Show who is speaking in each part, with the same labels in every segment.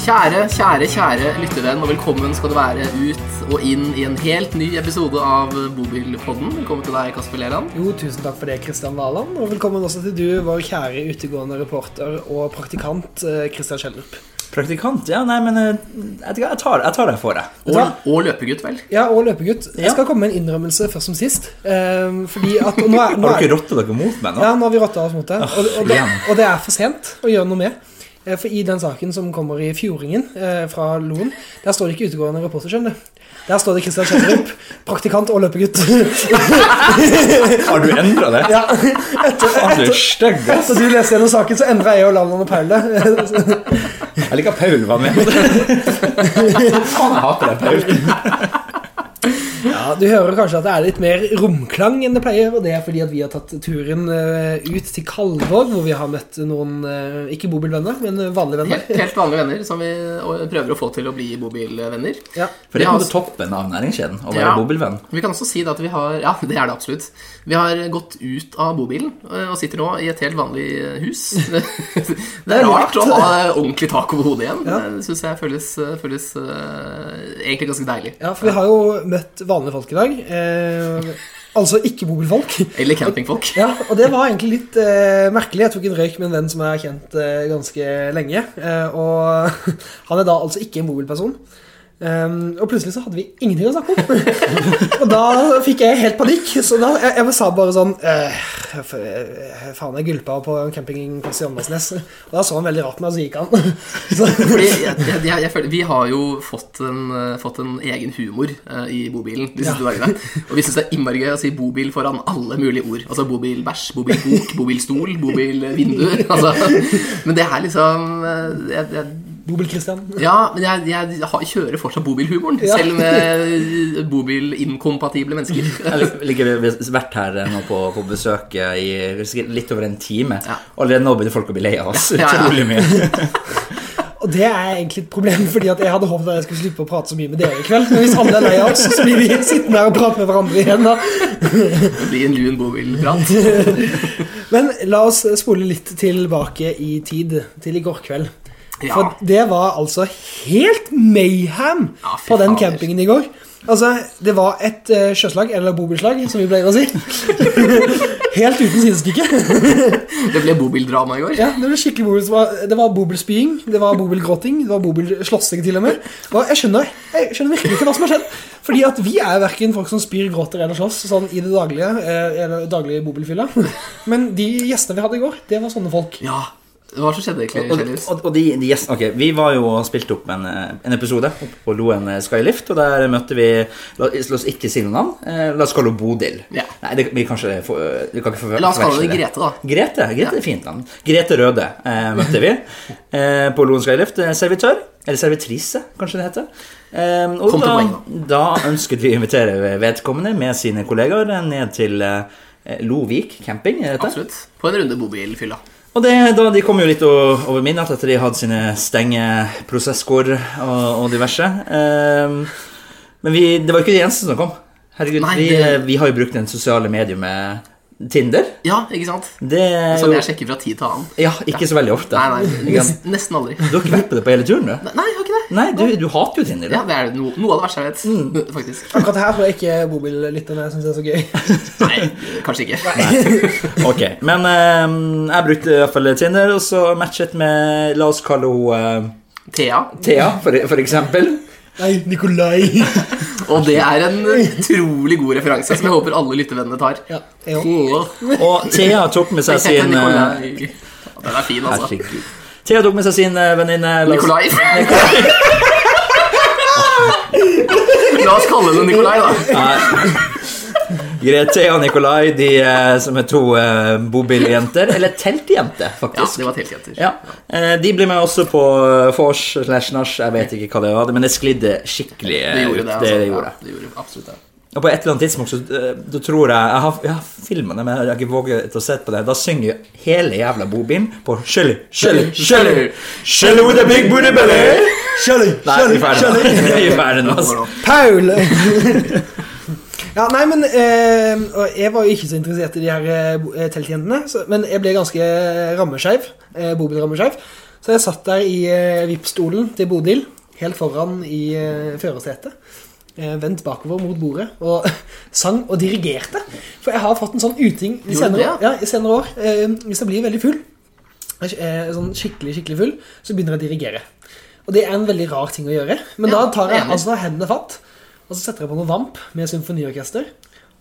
Speaker 1: Kjære, kjære, kjære lyttervenn, og velkommen skal du være ut og inn i en helt ny episode av Bobilpodden. Velkommen til deg, Kasper Leland.
Speaker 2: Jo, tusen takk for det, Kristian Valand. Og velkommen også til du, vår kjære utegående reporter og praktikant eh, Kristian Schjelderup.
Speaker 3: Praktikant? Ja, nei, men eh, jeg, jeg, tar, jeg tar deg for det.
Speaker 1: Og,
Speaker 2: Vet
Speaker 1: og løpegutt, vel.
Speaker 2: Ja, og løpegutt. Jeg
Speaker 3: Ja.
Speaker 2: skal komme med en innrømmelse først som sist. Eh, fordi at og nå er, nå
Speaker 3: Har
Speaker 2: er,
Speaker 3: dere rotta dere mot meg nå?
Speaker 2: Ja, nå har vi rotta oss mot det. Og, og, det,
Speaker 3: igjen.
Speaker 2: og det er for sent å gjøre noe med. Eh, For i den saken som kommer i Fjordingen eh, fra Loen, der står det ikke utegående reporter, skjønner du. Der står det Kristian Schjelderup, praktikant og løpegutt.
Speaker 3: Har du endra det?
Speaker 2: ja,
Speaker 3: Faen, du er stygg, ass.
Speaker 2: så du leste gjennom saken, så endra jeg og Lalland og Paul det.
Speaker 3: Jeg liker at Paul var med. Faen, jeg hater deg, Paul.
Speaker 2: Ja, Du hører kanskje at det er litt mer romklang enn det pleier, og det er fordi at vi har tatt turen eh, ut til Kalvåg, hvor vi har møtt noen eh, ikke bobilvenner, men vanlige venner.
Speaker 1: Helt, helt vanlige venner som vi og- prøver å få til å bli bobilvenner.
Speaker 2: Ja.
Speaker 3: For det
Speaker 1: Ja,
Speaker 3: er på
Speaker 1: altså.
Speaker 3: toppen av næringskjeden å være
Speaker 1: Ja.
Speaker 3: bobilvenn.
Speaker 1: Vi kan også si da at vi har Ja, det er det absolutt. Vi har gått ut av bobilen eh, og sitter nå i et helt vanlig hus. Det, er rart å ha ordentlig tak over hodet igjen. Det syns jeg føles, føles eh, egentlig ganske deilig.
Speaker 2: Ja, for vi har jo møtt vanlige folk i dag. Eh, altså ikke bobilfolk.
Speaker 1: Eller campingfolk.
Speaker 2: Ja, og det var egentlig litt eh, merkelig. Jeg tok en røyk med en venn som jeg har kjent eh, ganske lenge. Eh, og han er da altså ikke en bobilperson. Um, og plutselig så hadde vi ingenting å snakke om. og da fikk jeg helt panikk. Så da, jeg, jeg sa bare sånn eh, f- eh, Faen, jeg gulpa på en campingplass i Åndalsnes. Og da så han veldig rart på meg, og så gikk han. så,
Speaker 1: Fordi jeg, jeg, jeg, jeg føler, vi har jo fått en, eh, fått en egen humor eh, i bobilen de siste dagene. Og vi syns det er innmari gøy å si bobil foran alle mulige ord. Altså bobilbæsj, bobilbok, bobilstol, bobilvindu. Altså. Men det er liksom eh, jeg, jeg,
Speaker 2: Bobil-Christian.
Speaker 1: Ja, men jeg, jeg har- kjører fortsatt bobilhumoren.
Speaker 2: Ja.
Speaker 1: Selv med eh, bobilinkompatible mennesker.
Speaker 3: Jeg liker Vi har vært her eh, nå på, på besøk eh, i sikkert litt over en time.
Speaker 1: Ja.
Speaker 3: Allerede nå begynner folk å bli lei av oss.
Speaker 1: Ja, ja.
Speaker 3: Utrolig mye.
Speaker 2: Og det er egentlig et problem, fordi at jeg hadde håpet at jeg skulle slippe å prate så mye med dere i kveld. Men hvis alle er lei av oss, så blir vi sittende her og prate med hverandre igjen. da.
Speaker 1: Det blir en lun bobilprat.
Speaker 2: Men la oss spole litt tilbake i tid, til i går kveld.
Speaker 1: Ja.
Speaker 2: For det var altså helt mayhem
Speaker 1: Ja, fy
Speaker 2: på den
Speaker 1: fader.
Speaker 2: campingen i går. Altså, Det var et eh, sjøslag, eller bobilslag, som vi pleier å si. helt uten sidestykke.
Speaker 1: Det ble bobildrama i går.
Speaker 2: Ja, det ble skikkelig bobil, det var- det var bobilspying, det var bobilgråting, det var bobilslåssing til og med. Og jeg skjønner, jeg skjønner virkelig ikke hva som har skjedd. Fordi at vi er verken folk som spyr, gråter eller slåss sånn i det daglige, eh, eller daglige bobilfylla. Men de gjestene vi hadde i går, det var sånne folk.
Speaker 1: Ja. Hva som skjedde egentlig?
Speaker 3: Og,
Speaker 1: Kjellus?
Speaker 3: og, og de, de gjestene Ok, vi var jo og spilte opp en, eh, en episode oppe på Loen eh, Skylift, og der møtte vi La, la oss ikke si noe navn. Eh, la oss kalle henne Bodil.
Speaker 1: Ja.
Speaker 3: Nei, det, vi kanskje for, vi kan ikke forve-
Speaker 1: La oss kalle
Speaker 3: forveksle
Speaker 1: henne Grete, da.
Speaker 3: Grete, Grete er fint navn. Grete Røde eh, møtte vi eh, på Loen Skylift. Eh, Servitør. Eller servitrise, kanskje det heter. Eh, og
Speaker 1: Kom til
Speaker 3: da,
Speaker 1: poenget.
Speaker 3: da ønsket vi å invitere vedkommende med sine kollegaer eh, ned til eh, Lovik camping. er det dette?
Speaker 1: Absolutt. På en runde bobilfylla.
Speaker 3: Og det, da, De kom jo litt o- over midnatt etter de hadde sine stengeprosesskår og, og diverse. Ehm, men vi, det var jo ikke de eneste som kom. Herregud,
Speaker 1: Nei,
Speaker 3: vi,
Speaker 1: det-
Speaker 3: vi har jo brukt den sosiale medier med Tinder.
Speaker 1: Ja, ikke sant?
Speaker 3: Det er
Speaker 1: Som
Speaker 3: jo
Speaker 1: jeg sjekker fra tid til annen.
Speaker 3: ja, ikke så veldig ofte.
Speaker 1: Nei, nei, nest, nesten aldri.
Speaker 3: Du har ikke vært på det på hele turen, du?
Speaker 1: Nei, jeg har ikke det.
Speaker 3: Nei, du, du hater jo Tinder.
Speaker 1: Ja, Mm.
Speaker 3: Du.
Speaker 1: Det er no, noe av det verste jeg vet, faktisk.
Speaker 2: Akkurat her tror jeg ikke bobillytterne syns det er så gøy.
Speaker 1: Nei, kanskje ikke.
Speaker 3: Ok, Men ehm, jeg brukte i hvert fall Tinder, og så matchet med La oss kalle henne eh,
Speaker 1: Thea.
Speaker 3: Thea, for, for eksempel.
Speaker 2: Nei, Nikolai.
Speaker 1: Og det er en utrolig god referanse som jeg håper alle lyttevennene tar.
Speaker 2: Ja, jeg også.
Speaker 1: Åh,
Speaker 3: Og Thea tok med seg
Speaker 1: Petter
Speaker 3: sin eh,
Speaker 1: Nikolai. Ja, Den er fin, altså.
Speaker 3: Herregud. Thea tok med seg sin eh, venninne la oss-
Speaker 1: Nikolai. La oss kalle henne Nikolai, da.
Speaker 3: Grete Thea og Nikolai, de eh, som er to eh, bobiljenter. Eller teltjenter,
Speaker 1: Ja,
Speaker 3: faktisk.
Speaker 1: det var teltjenter.
Speaker 3: Ja. Eh, De ble med også på eh, vors slash nach, jeg vet ikke hva det var, men det sklidde skikkelig eh,
Speaker 1: Det gjorde
Speaker 3: ut.
Speaker 1: det.
Speaker 3: det,
Speaker 1: Altså.
Speaker 3: det gjorde.
Speaker 1: Ja, det gjorde absolutt det.
Speaker 3: Og på et eller annet tidspunkt så eh, da tror jeg Jeg har, jeg har filma det, men jeg har ikke våget å se på det. Da synger jo hele jævla bobilen på Shelly, Shelly, Shelly. Shelly with a big booty belly.
Speaker 2: Kjøling,
Speaker 3: Nei, vi er ferdig nå. Vi er ferdig nå. altså.
Speaker 2: Paul! Ja, nei, men eh, og Jeg var jo ikke så interessert i de her eh, bo- eh, teltjentene, så, men jeg ble ganske rammeskeiv. Eh, Bobilrammeskeiv. Så jeg satt der i eh, VIP-stolen til Bodil, helt foran i eh, førersetet. eh, Vendt bakover mot bordet og sang og dirigerte. For jeg har fått en sånn uting
Speaker 1: Gjorde
Speaker 2: i
Speaker 1: du
Speaker 2: senere,
Speaker 1: det,
Speaker 2: ja, i senere år. Eh, Hvis jeg blir veldig full, jeg er sånn skikkelig, skikkelig full, så begynner jeg å dirigere. Og det er en veldig rar ting å gjøre. Men
Speaker 1: Ja,
Speaker 2: da tar jeg
Speaker 1: enig.
Speaker 2: altså hendene fatt, og så setter jeg på noe vamp med symfoniorkester,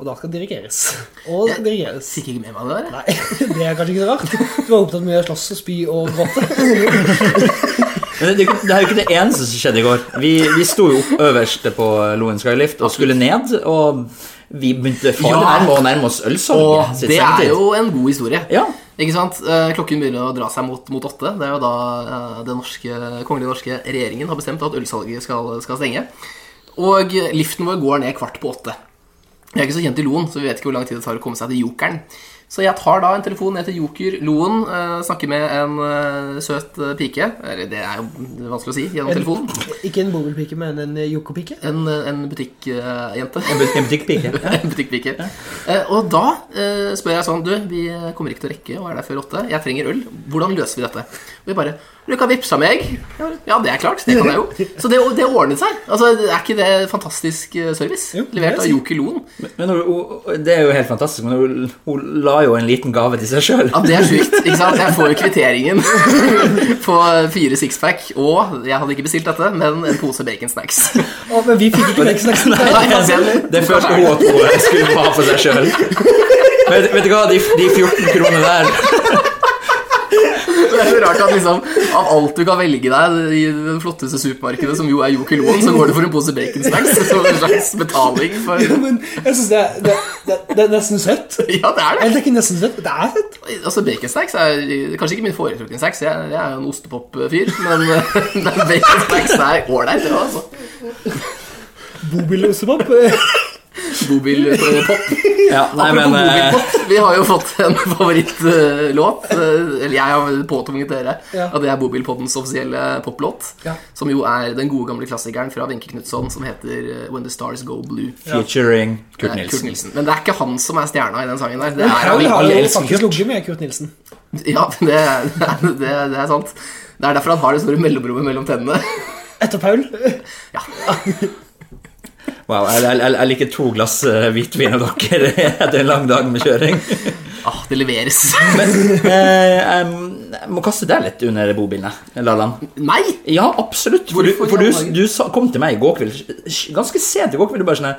Speaker 2: og da skal det dirigeres. Og
Speaker 1: Ja.
Speaker 2: dirigeres.
Speaker 1: Fikk ikke med meg det der. jeg.
Speaker 2: Nei, det er kanskje ikke så rart. Du var opptatt med å slåss og spy og gråte.
Speaker 3: Men det, det er jo ikke det eneste som skjedde i går. Vi, vi sto jo opp øverst på Loen Skylift og skulle ned, og vi begynte farlig
Speaker 1: Ja.
Speaker 3: nærme å nærme oss ølsalget.
Speaker 1: Og
Speaker 3: sitt
Speaker 1: det er
Speaker 3: sengetid.
Speaker 1: jo en god historie.
Speaker 3: Ja.
Speaker 1: Ikke sant? Eh, Klokken begynner å dra seg mot, mot åtte. Det er jo da eh, den norske, kongelige norske regjeringen har bestemt at ølsalget skal, skal stenge. Og liften vår går ned kvart på åtte. Jeg er ikke så kjent i Loen, så vi vet ikke hvor lang tid det tar å komme seg til Jokeren. Så jeg tar da en telefon ned til Joker Loen, eh, snakker med en eh, søt eh, pike. Eller det er jo vanskelig å si gjennom telefonen.
Speaker 2: Ikke en bobilpike, men en eh, jokopike.
Speaker 1: En, eh, en butikkjente.
Speaker 3: En bu- En butikkpike. Ja.
Speaker 1: En butikkpike. Eh, og da eh, spør jeg sånn Du, vi kommer ikke til å rekke og er der før åtte. Jeg trenger øl. Hvordan løser vi dette? Og vi bare Du kan vippse meg. Jeg bare, Ja, det er klart. Det kan jeg jo. Så det, det ordnet seg. Altså, Er ikke det fantastisk eh, service?
Speaker 2: Jo, det vil jeg
Speaker 1: Levert av
Speaker 2: si.
Speaker 1: Joker Loen.
Speaker 3: Men hun, hun, det er jo helt fantastisk, men hun, hun la jo en liten gave til seg sjøl.
Speaker 1: Ja, det er sjukt. ikke sant? Jeg får jo kvitteringen på fire sixpack. Og jeg hadde ikke bestilt dette, men en pose baconsnacks.
Speaker 2: Å, men vi fikk ikke vekksnakken.
Speaker 3: Det følte hun at hun skulle ha for seg sjøl. Vet, vet du hva, de, de 14 kronene der
Speaker 1: Det er så rart at liksom, av alt du kan velge deg i det flotteste supermarkedet, som jo er Joker Loen, så går du for en pose baconsnacks som en slags betaling for
Speaker 2: Ja, men jeg synes det, er- det, det, det er nesten søtt.
Speaker 1: Ja, det er det.
Speaker 2: Eller det er ikke nesten søtt, det er søtt.
Speaker 1: Altså, Baconsnacks er kanskje ikke min foretrukne snacks. Jeg, jeg er jo en ostepop-fyr, men men baconsnacks er ålreit, det òg, altså.
Speaker 2: Bobil-ostepop.
Speaker 1: Bobil-pop.
Speaker 3: ja, Nei, men
Speaker 1: Apropos
Speaker 3: eh,
Speaker 1: bobilpop, vi har jo fått en favorittlåt. eh, Eller jeg har påtvunget dere
Speaker 2: Ja.
Speaker 1: at det er Bobilpoddens offisielle poplåt.
Speaker 2: Ja.
Speaker 1: Som jo er den gode gamle klassikeren fra Wenche Knutson som heter eh, When the Stars Go Blue.
Speaker 3: eh, Featuring Kurt
Speaker 1: Eh, Kurt
Speaker 3: Nilsen.
Speaker 1: Nilsen. Men det er ikke han som er stjerna i den sangen der. Det er
Speaker 2: Her
Speaker 1: han
Speaker 2: har
Speaker 3: alle
Speaker 2: jo
Speaker 3: elsker
Speaker 2: faktisk ligget med Kurt Nilsen.
Speaker 1: Ja, det, det, det, det er sant. Det er derfor han har det store mellomrommet mellom tennene.
Speaker 2: Etter Paul.
Speaker 3: Wow, jeg, jeg, jeg liker to glass eh, hvitvin av dere etter en lang dag med kjøring.
Speaker 1: Ah, det leveres.
Speaker 3: Men eh, jeg, jeg må kaste deg litt under bobilen, jeg, Lalan.
Speaker 1: Nei!
Speaker 3: Ja, absolutt. For, du,
Speaker 1: Hvorfor i
Speaker 3: for du,
Speaker 1: alle dager?
Speaker 3: du sa, kom til meg i går kveld s- ganske sent i går kveld. Du bare sånn her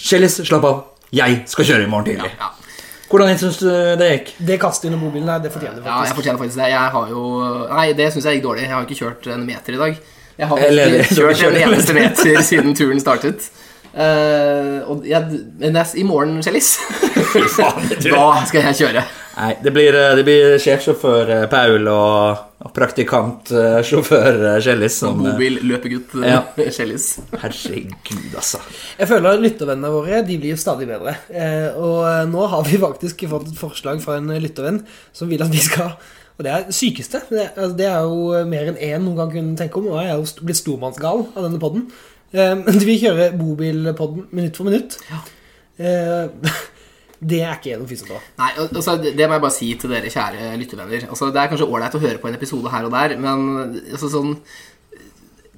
Speaker 3: Kjellis, slapp av. Jeg skal kjøre i morgen tidlig.
Speaker 1: Ja.
Speaker 3: Hvordan syns du det gikk?
Speaker 2: Det kastet under bobilen her, det fortjener du
Speaker 1: ja, jeg
Speaker 2: faktisk.
Speaker 1: fortjener faktisk det. Jeg har jo Nei, det syns jeg gikk dårlig. Jeg har jo ikke kjørt en meter i dag. Jeg har
Speaker 3: Eller-
Speaker 1: ikke kjørt en
Speaker 3: Eller-
Speaker 1: eneste meter siden turen startet. Eh, og jeg, men jeg, i morgen, Kjellis, da skal jeg kjøre.
Speaker 3: Nei, det blir, eh, det blir sjefsjåfør eh, Paul og, og praktikantsjåfør Kjellis
Speaker 1: Sånn,
Speaker 3: som eh,
Speaker 1: Bobil-løpegutt
Speaker 3: Ja.
Speaker 1: Kjellis.
Speaker 3: Herregud, altså.
Speaker 2: Jeg føler at lyttervennene våre de blir stadig bedre. Eh, og nå har vi faktisk fått et forslag fra en lyttervenn som vil at vi skal Og det er det sykeste. Det, er- altså, det er jo mer enn én noen gang kunne tenke om. Og jeg er jo st- blitt stormannsgal av denne podden. Eh, men vi kjører bobilpodden minutt for minutt. Eh, det er ikke noe fysete.
Speaker 1: Nei, al- altså, det det må jeg bare si til dere kjære lyttervenner. Altså, det er kanskje ålreit å høre på en episode her og der, men altså, sånn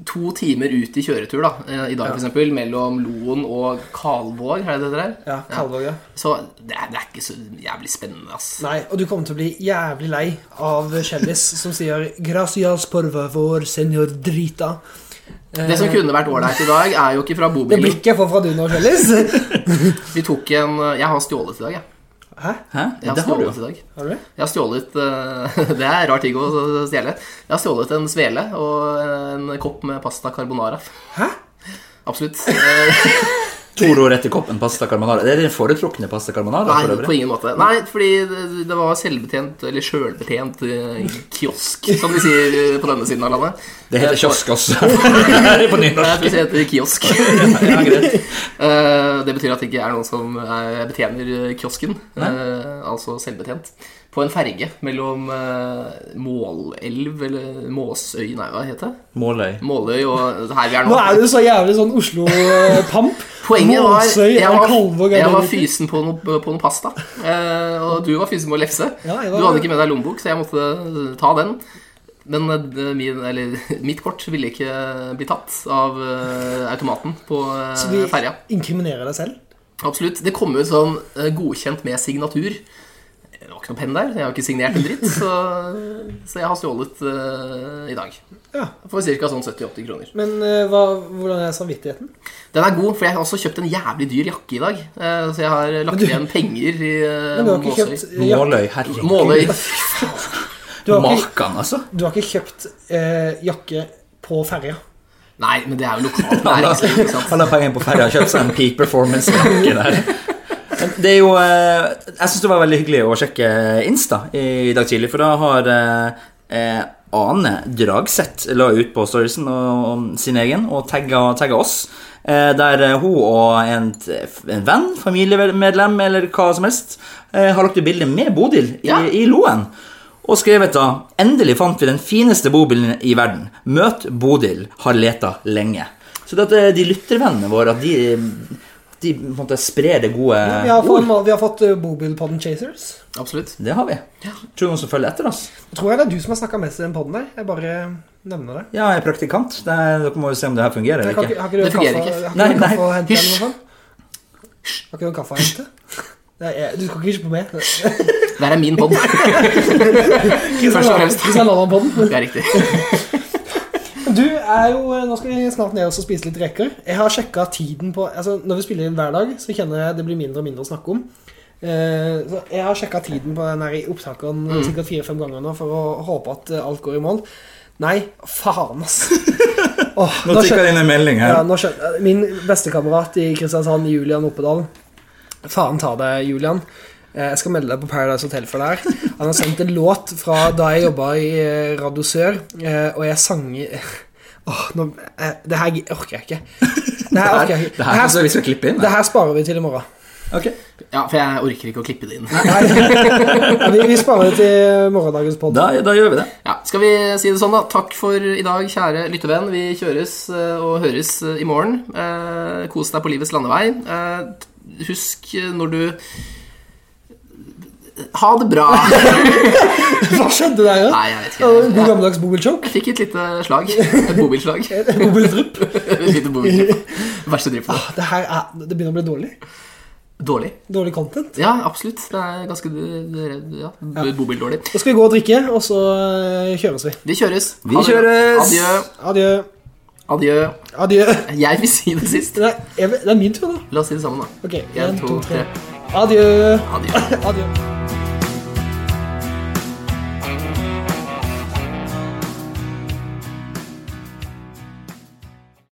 Speaker 1: To timer ut i kjøretur da, eh, i dag, for eksempel mellom Loen og Kalvåg, er det det der?
Speaker 2: Ja, Kalvåg, ja.
Speaker 1: Så det er, det er ikke så jævlig spennende, ass.
Speaker 2: Nei, og du kommer til å bli jævlig lei av Kjellis som sier 'Gracias por favor, señor drita'. Eh,
Speaker 1: Det som kunne vært ålreit i dag, er jo ikke fra
Speaker 2: det
Speaker 1: bobilen.
Speaker 2: blikket jeg får fra du nå, Kjellis.
Speaker 1: Vi tok en eh, Jeg har stjålet i dag, jeg.
Speaker 2: Hæ?
Speaker 3: Hæ?
Speaker 1: Jeg har
Speaker 3: Det har du.
Speaker 1: stjålet i dag.
Speaker 2: Har du det?
Speaker 1: Jeg har stjålet eh, Det er rar ting å stjele. Jeg har stjålet en svele og en kopp med pasta carbonara.
Speaker 2: Hæ?
Speaker 1: Absolutt. Eh,
Speaker 3: Toro rett i koppen pasta carbonara. Det er din foretrukne pasta carbonara.
Speaker 1: Nei,
Speaker 3: for
Speaker 1: på
Speaker 3: øvrig.
Speaker 1: ingen måte. Nei, fordi det- det var selvbetjent, eller sjølbetjent eh, kiosk, som de sier eh, på denne siden av landet.
Speaker 3: Det heter kiosk også. på
Speaker 1: Nei,
Speaker 3: nynorsk.
Speaker 1: jeg skulle si det heter kiosk.
Speaker 3: Ja, greit.
Speaker 1: Eh, Det betyr at det ikke er noen som eh, betjener kiosken, eh, altså selvbetjent, på en ferge mellom eh, Målelv, eller Måsøy, nei, hva heter det?
Speaker 3: Måløy.
Speaker 1: Måløy og her vi er
Speaker 2: Nå er du så jævlig sånn Oslo-pamp.
Speaker 1: Poenget var
Speaker 2: Måsøy
Speaker 1: jeg
Speaker 2: er
Speaker 1: var,
Speaker 2: Kalvåg er
Speaker 1: jeg var
Speaker 2: det ikke?
Speaker 1: fysen på noe, på noe pasta. Eh, og du var fysen på lefse.
Speaker 2: Ja, jeg var-
Speaker 1: Du hadde ikke med deg lommebok, så jeg måtte eh, ta den. Men eh, min, eller, mitt kort ville ikke bli tatt av eh, automaten på
Speaker 2: Så du
Speaker 1: eh, ferja.
Speaker 2: inkriminerer deg selv?
Speaker 1: Absolutt. Det kom ut sånn eh, godkjent med signatur. Det var ikke noe penn der. Jeg har ikke signert en dritt, så, så jeg har stjålet eh, i dag.
Speaker 2: Ja.
Speaker 1: For ca. sånn 70-80 kroner.
Speaker 2: Men eh, hva, hvordan er samvittigheten?
Speaker 1: Den er god, for jeg har også kjøpt en jævlig dyr jakke i dag. eh, Så jeg har lagt
Speaker 2: du-
Speaker 1: igjen penger i eh,
Speaker 2: Men du har ikke
Speaker 1: Måsøy.
Speaker 2: kjøpt, ja,
Speaker 3: Måløy, herregud.
Speaker 1: Måløy.
Speaker 2: du har ikke,
Speaker 3: Makan, altså.
Speaker 2: du har ikke kjøpt eh, jakke på ferja?
Speaker 1: Nei, men det er jo lokalt næringsliv. ikke sant?
Speaker 3: Alle pengene på ferja har kjøpt seg en peak performance-jakke der. Men Det er jo, eh, jeg syns det var veldig hyggelig å sjekke Insta i dag tidlig, for da har eh, eh, Ane Dragseth la ut på storiesen og, og sin egen og tagga tagga oss. eh, Der eh, hun og en, t- en venn, familiemedlem eller hva som helst, eh, har lagt ut bilde med Bodil i,
Speaker 1: Ja.
Speaker 3: i Loen. Og skrevet da 'Endelig fant vi den fineste bobilen i verden'. Møt Bodil. Har leta lenge. Så det at eh, de lyttervennene våre, at de, de på en måte sprer det gode
Speaker 2: Vi har
Speaker 3: Eh, ord.
Speaker 2: fått, vi har fått eh, bobilpodden Chasers.
Speaker 1: Absolutt.
Speaker 3: Det har vi. Tror du noen som følger etter oss?
Speaker 2: Jeg tror jeg det er du som har snakka mest i den podden der. Jeg bare nevner det.
Speaker 3: Ja, jeg er praktikant. Det er, dere må jo se om det her fungerer
Speaker 2: Jeg
Speaker 3: eller
Speaker 2: kan ikke,
Speaker 3: ikke.
Speaker 2: har ikke du
Speaker 1: Det
Speaker 2: en
Speaker 1: fungerer
Speaker 2: kaffe,
Speaker 1: ikke.
Speaker 2: Har ikke
Speaker 3: Nei,
Speaker 2: du en
Speaker 3: nei.
Speaker 2: kaffe å hente eller
Speaker 1: Hysj.
Speaker 2: noe sånt? Har ikke du en kaffe å hente? Nei, jeg, du skal ikke hysje på meg.
Speaker 1: Der er min pod. Først og fremst.
Speaker 2: Hvis jeg lander på den.
Speaker 1: Det er riktig.
Speaker 2: Du er jo, eh, Nå skal vi snart ned og så spise litt reker. Jeg har sjekka tiden på altså Når vi spiller inn hver dag, så kjenner jeg det blir mindre og mindre å snakke om. Eh, så jeg har sjekka tiden på den her i opptakene sikkert fire-fem ganger nå for å håpe at eh, alt går i mål. Nei, faen, ass. Åh,
Speaker 3: Nå tikker det inn en melding her.
Speaker 2: Ja, nå skjønner, eh, min bestekamerat i Kristiansand, Julian Oppedal Faen ta deg, Julian. Eh, Jeg skal melde deg på Paradise Hotel for deg. Han har sendt en låt fra da jeg jobba i eh, Radio Sør, eh, og jeg sang i- Åh, nå, eh, Det her gi- orker jeg ikke. Det her orker jeg ikke.
Speaker 3: Det her, altså,
Speaker 2: Det
Speaker 3: vi
Speaker 2: her,
Speaker 3: skal klippe inn.
Speaker 2: det her sparer vi til i morgen.
Speaker 3: Ok.
Speaker 1: Ja, for jeg orker ikke å klippe det inn.
Speaker 2: Ja, vi, vi sparer det til morgendagens podd.
Speaker 3: Da, da gjør vi det.
Speaker 1: Ja, skal vi si det sånn, da? Takk for i dag, kjære lyttevenn. Vi kjøres eh, og høres eh, i morgen. Eh, Kos deg på livets landevei. Eh, Husk eh, når du Ha det bra!
Speaker 2: Hva skjedde der? Ja?
Speaker 1: Nei, jeg vet
Speaker 2: Ja, en
Speaker 1: ikke.
Speaker 2: God gammeldags bobilchoke?
Speaker 1: Jeg fikk et lite slag. Et bobilslag. Et
Speaker 2: Bobildrypp?
Speaker 1: lite bobildrypp. Verste drypp. da.
Speaker 2: Det her er, det begynner å bli dårlig.
Speaker 1: Dårlig.
Speaker 2: Dårlig content.
Speaker 1: Ja, absolutt. Det er ganske ja, bobildårlig.
Speaker 2: Da skal vi gå og drikke, og så eh, kjøres vi.
Speaker 1: Vi kjøres.
Speaker 3: Vi
Speaker 1: Ha det bra.
Speaker 3: kjøres.
Speaker 1: Adjø. Adjø.
Speaker 2: Adjø. Adjø.
Speaker 1: Jeg vil si det sist.
Speaker 2: Nei, jeg, vil- det er min tur, da.
Speaker 1: La oss si det sammen, da.
Speaker 2: Ok,
Speaker 1: En,
Speaker 2: en,
Speaker 1: to, tre.
Speaker 2: Adjø.
Speaker 1: Adjø.
Speaker 2: Adjø.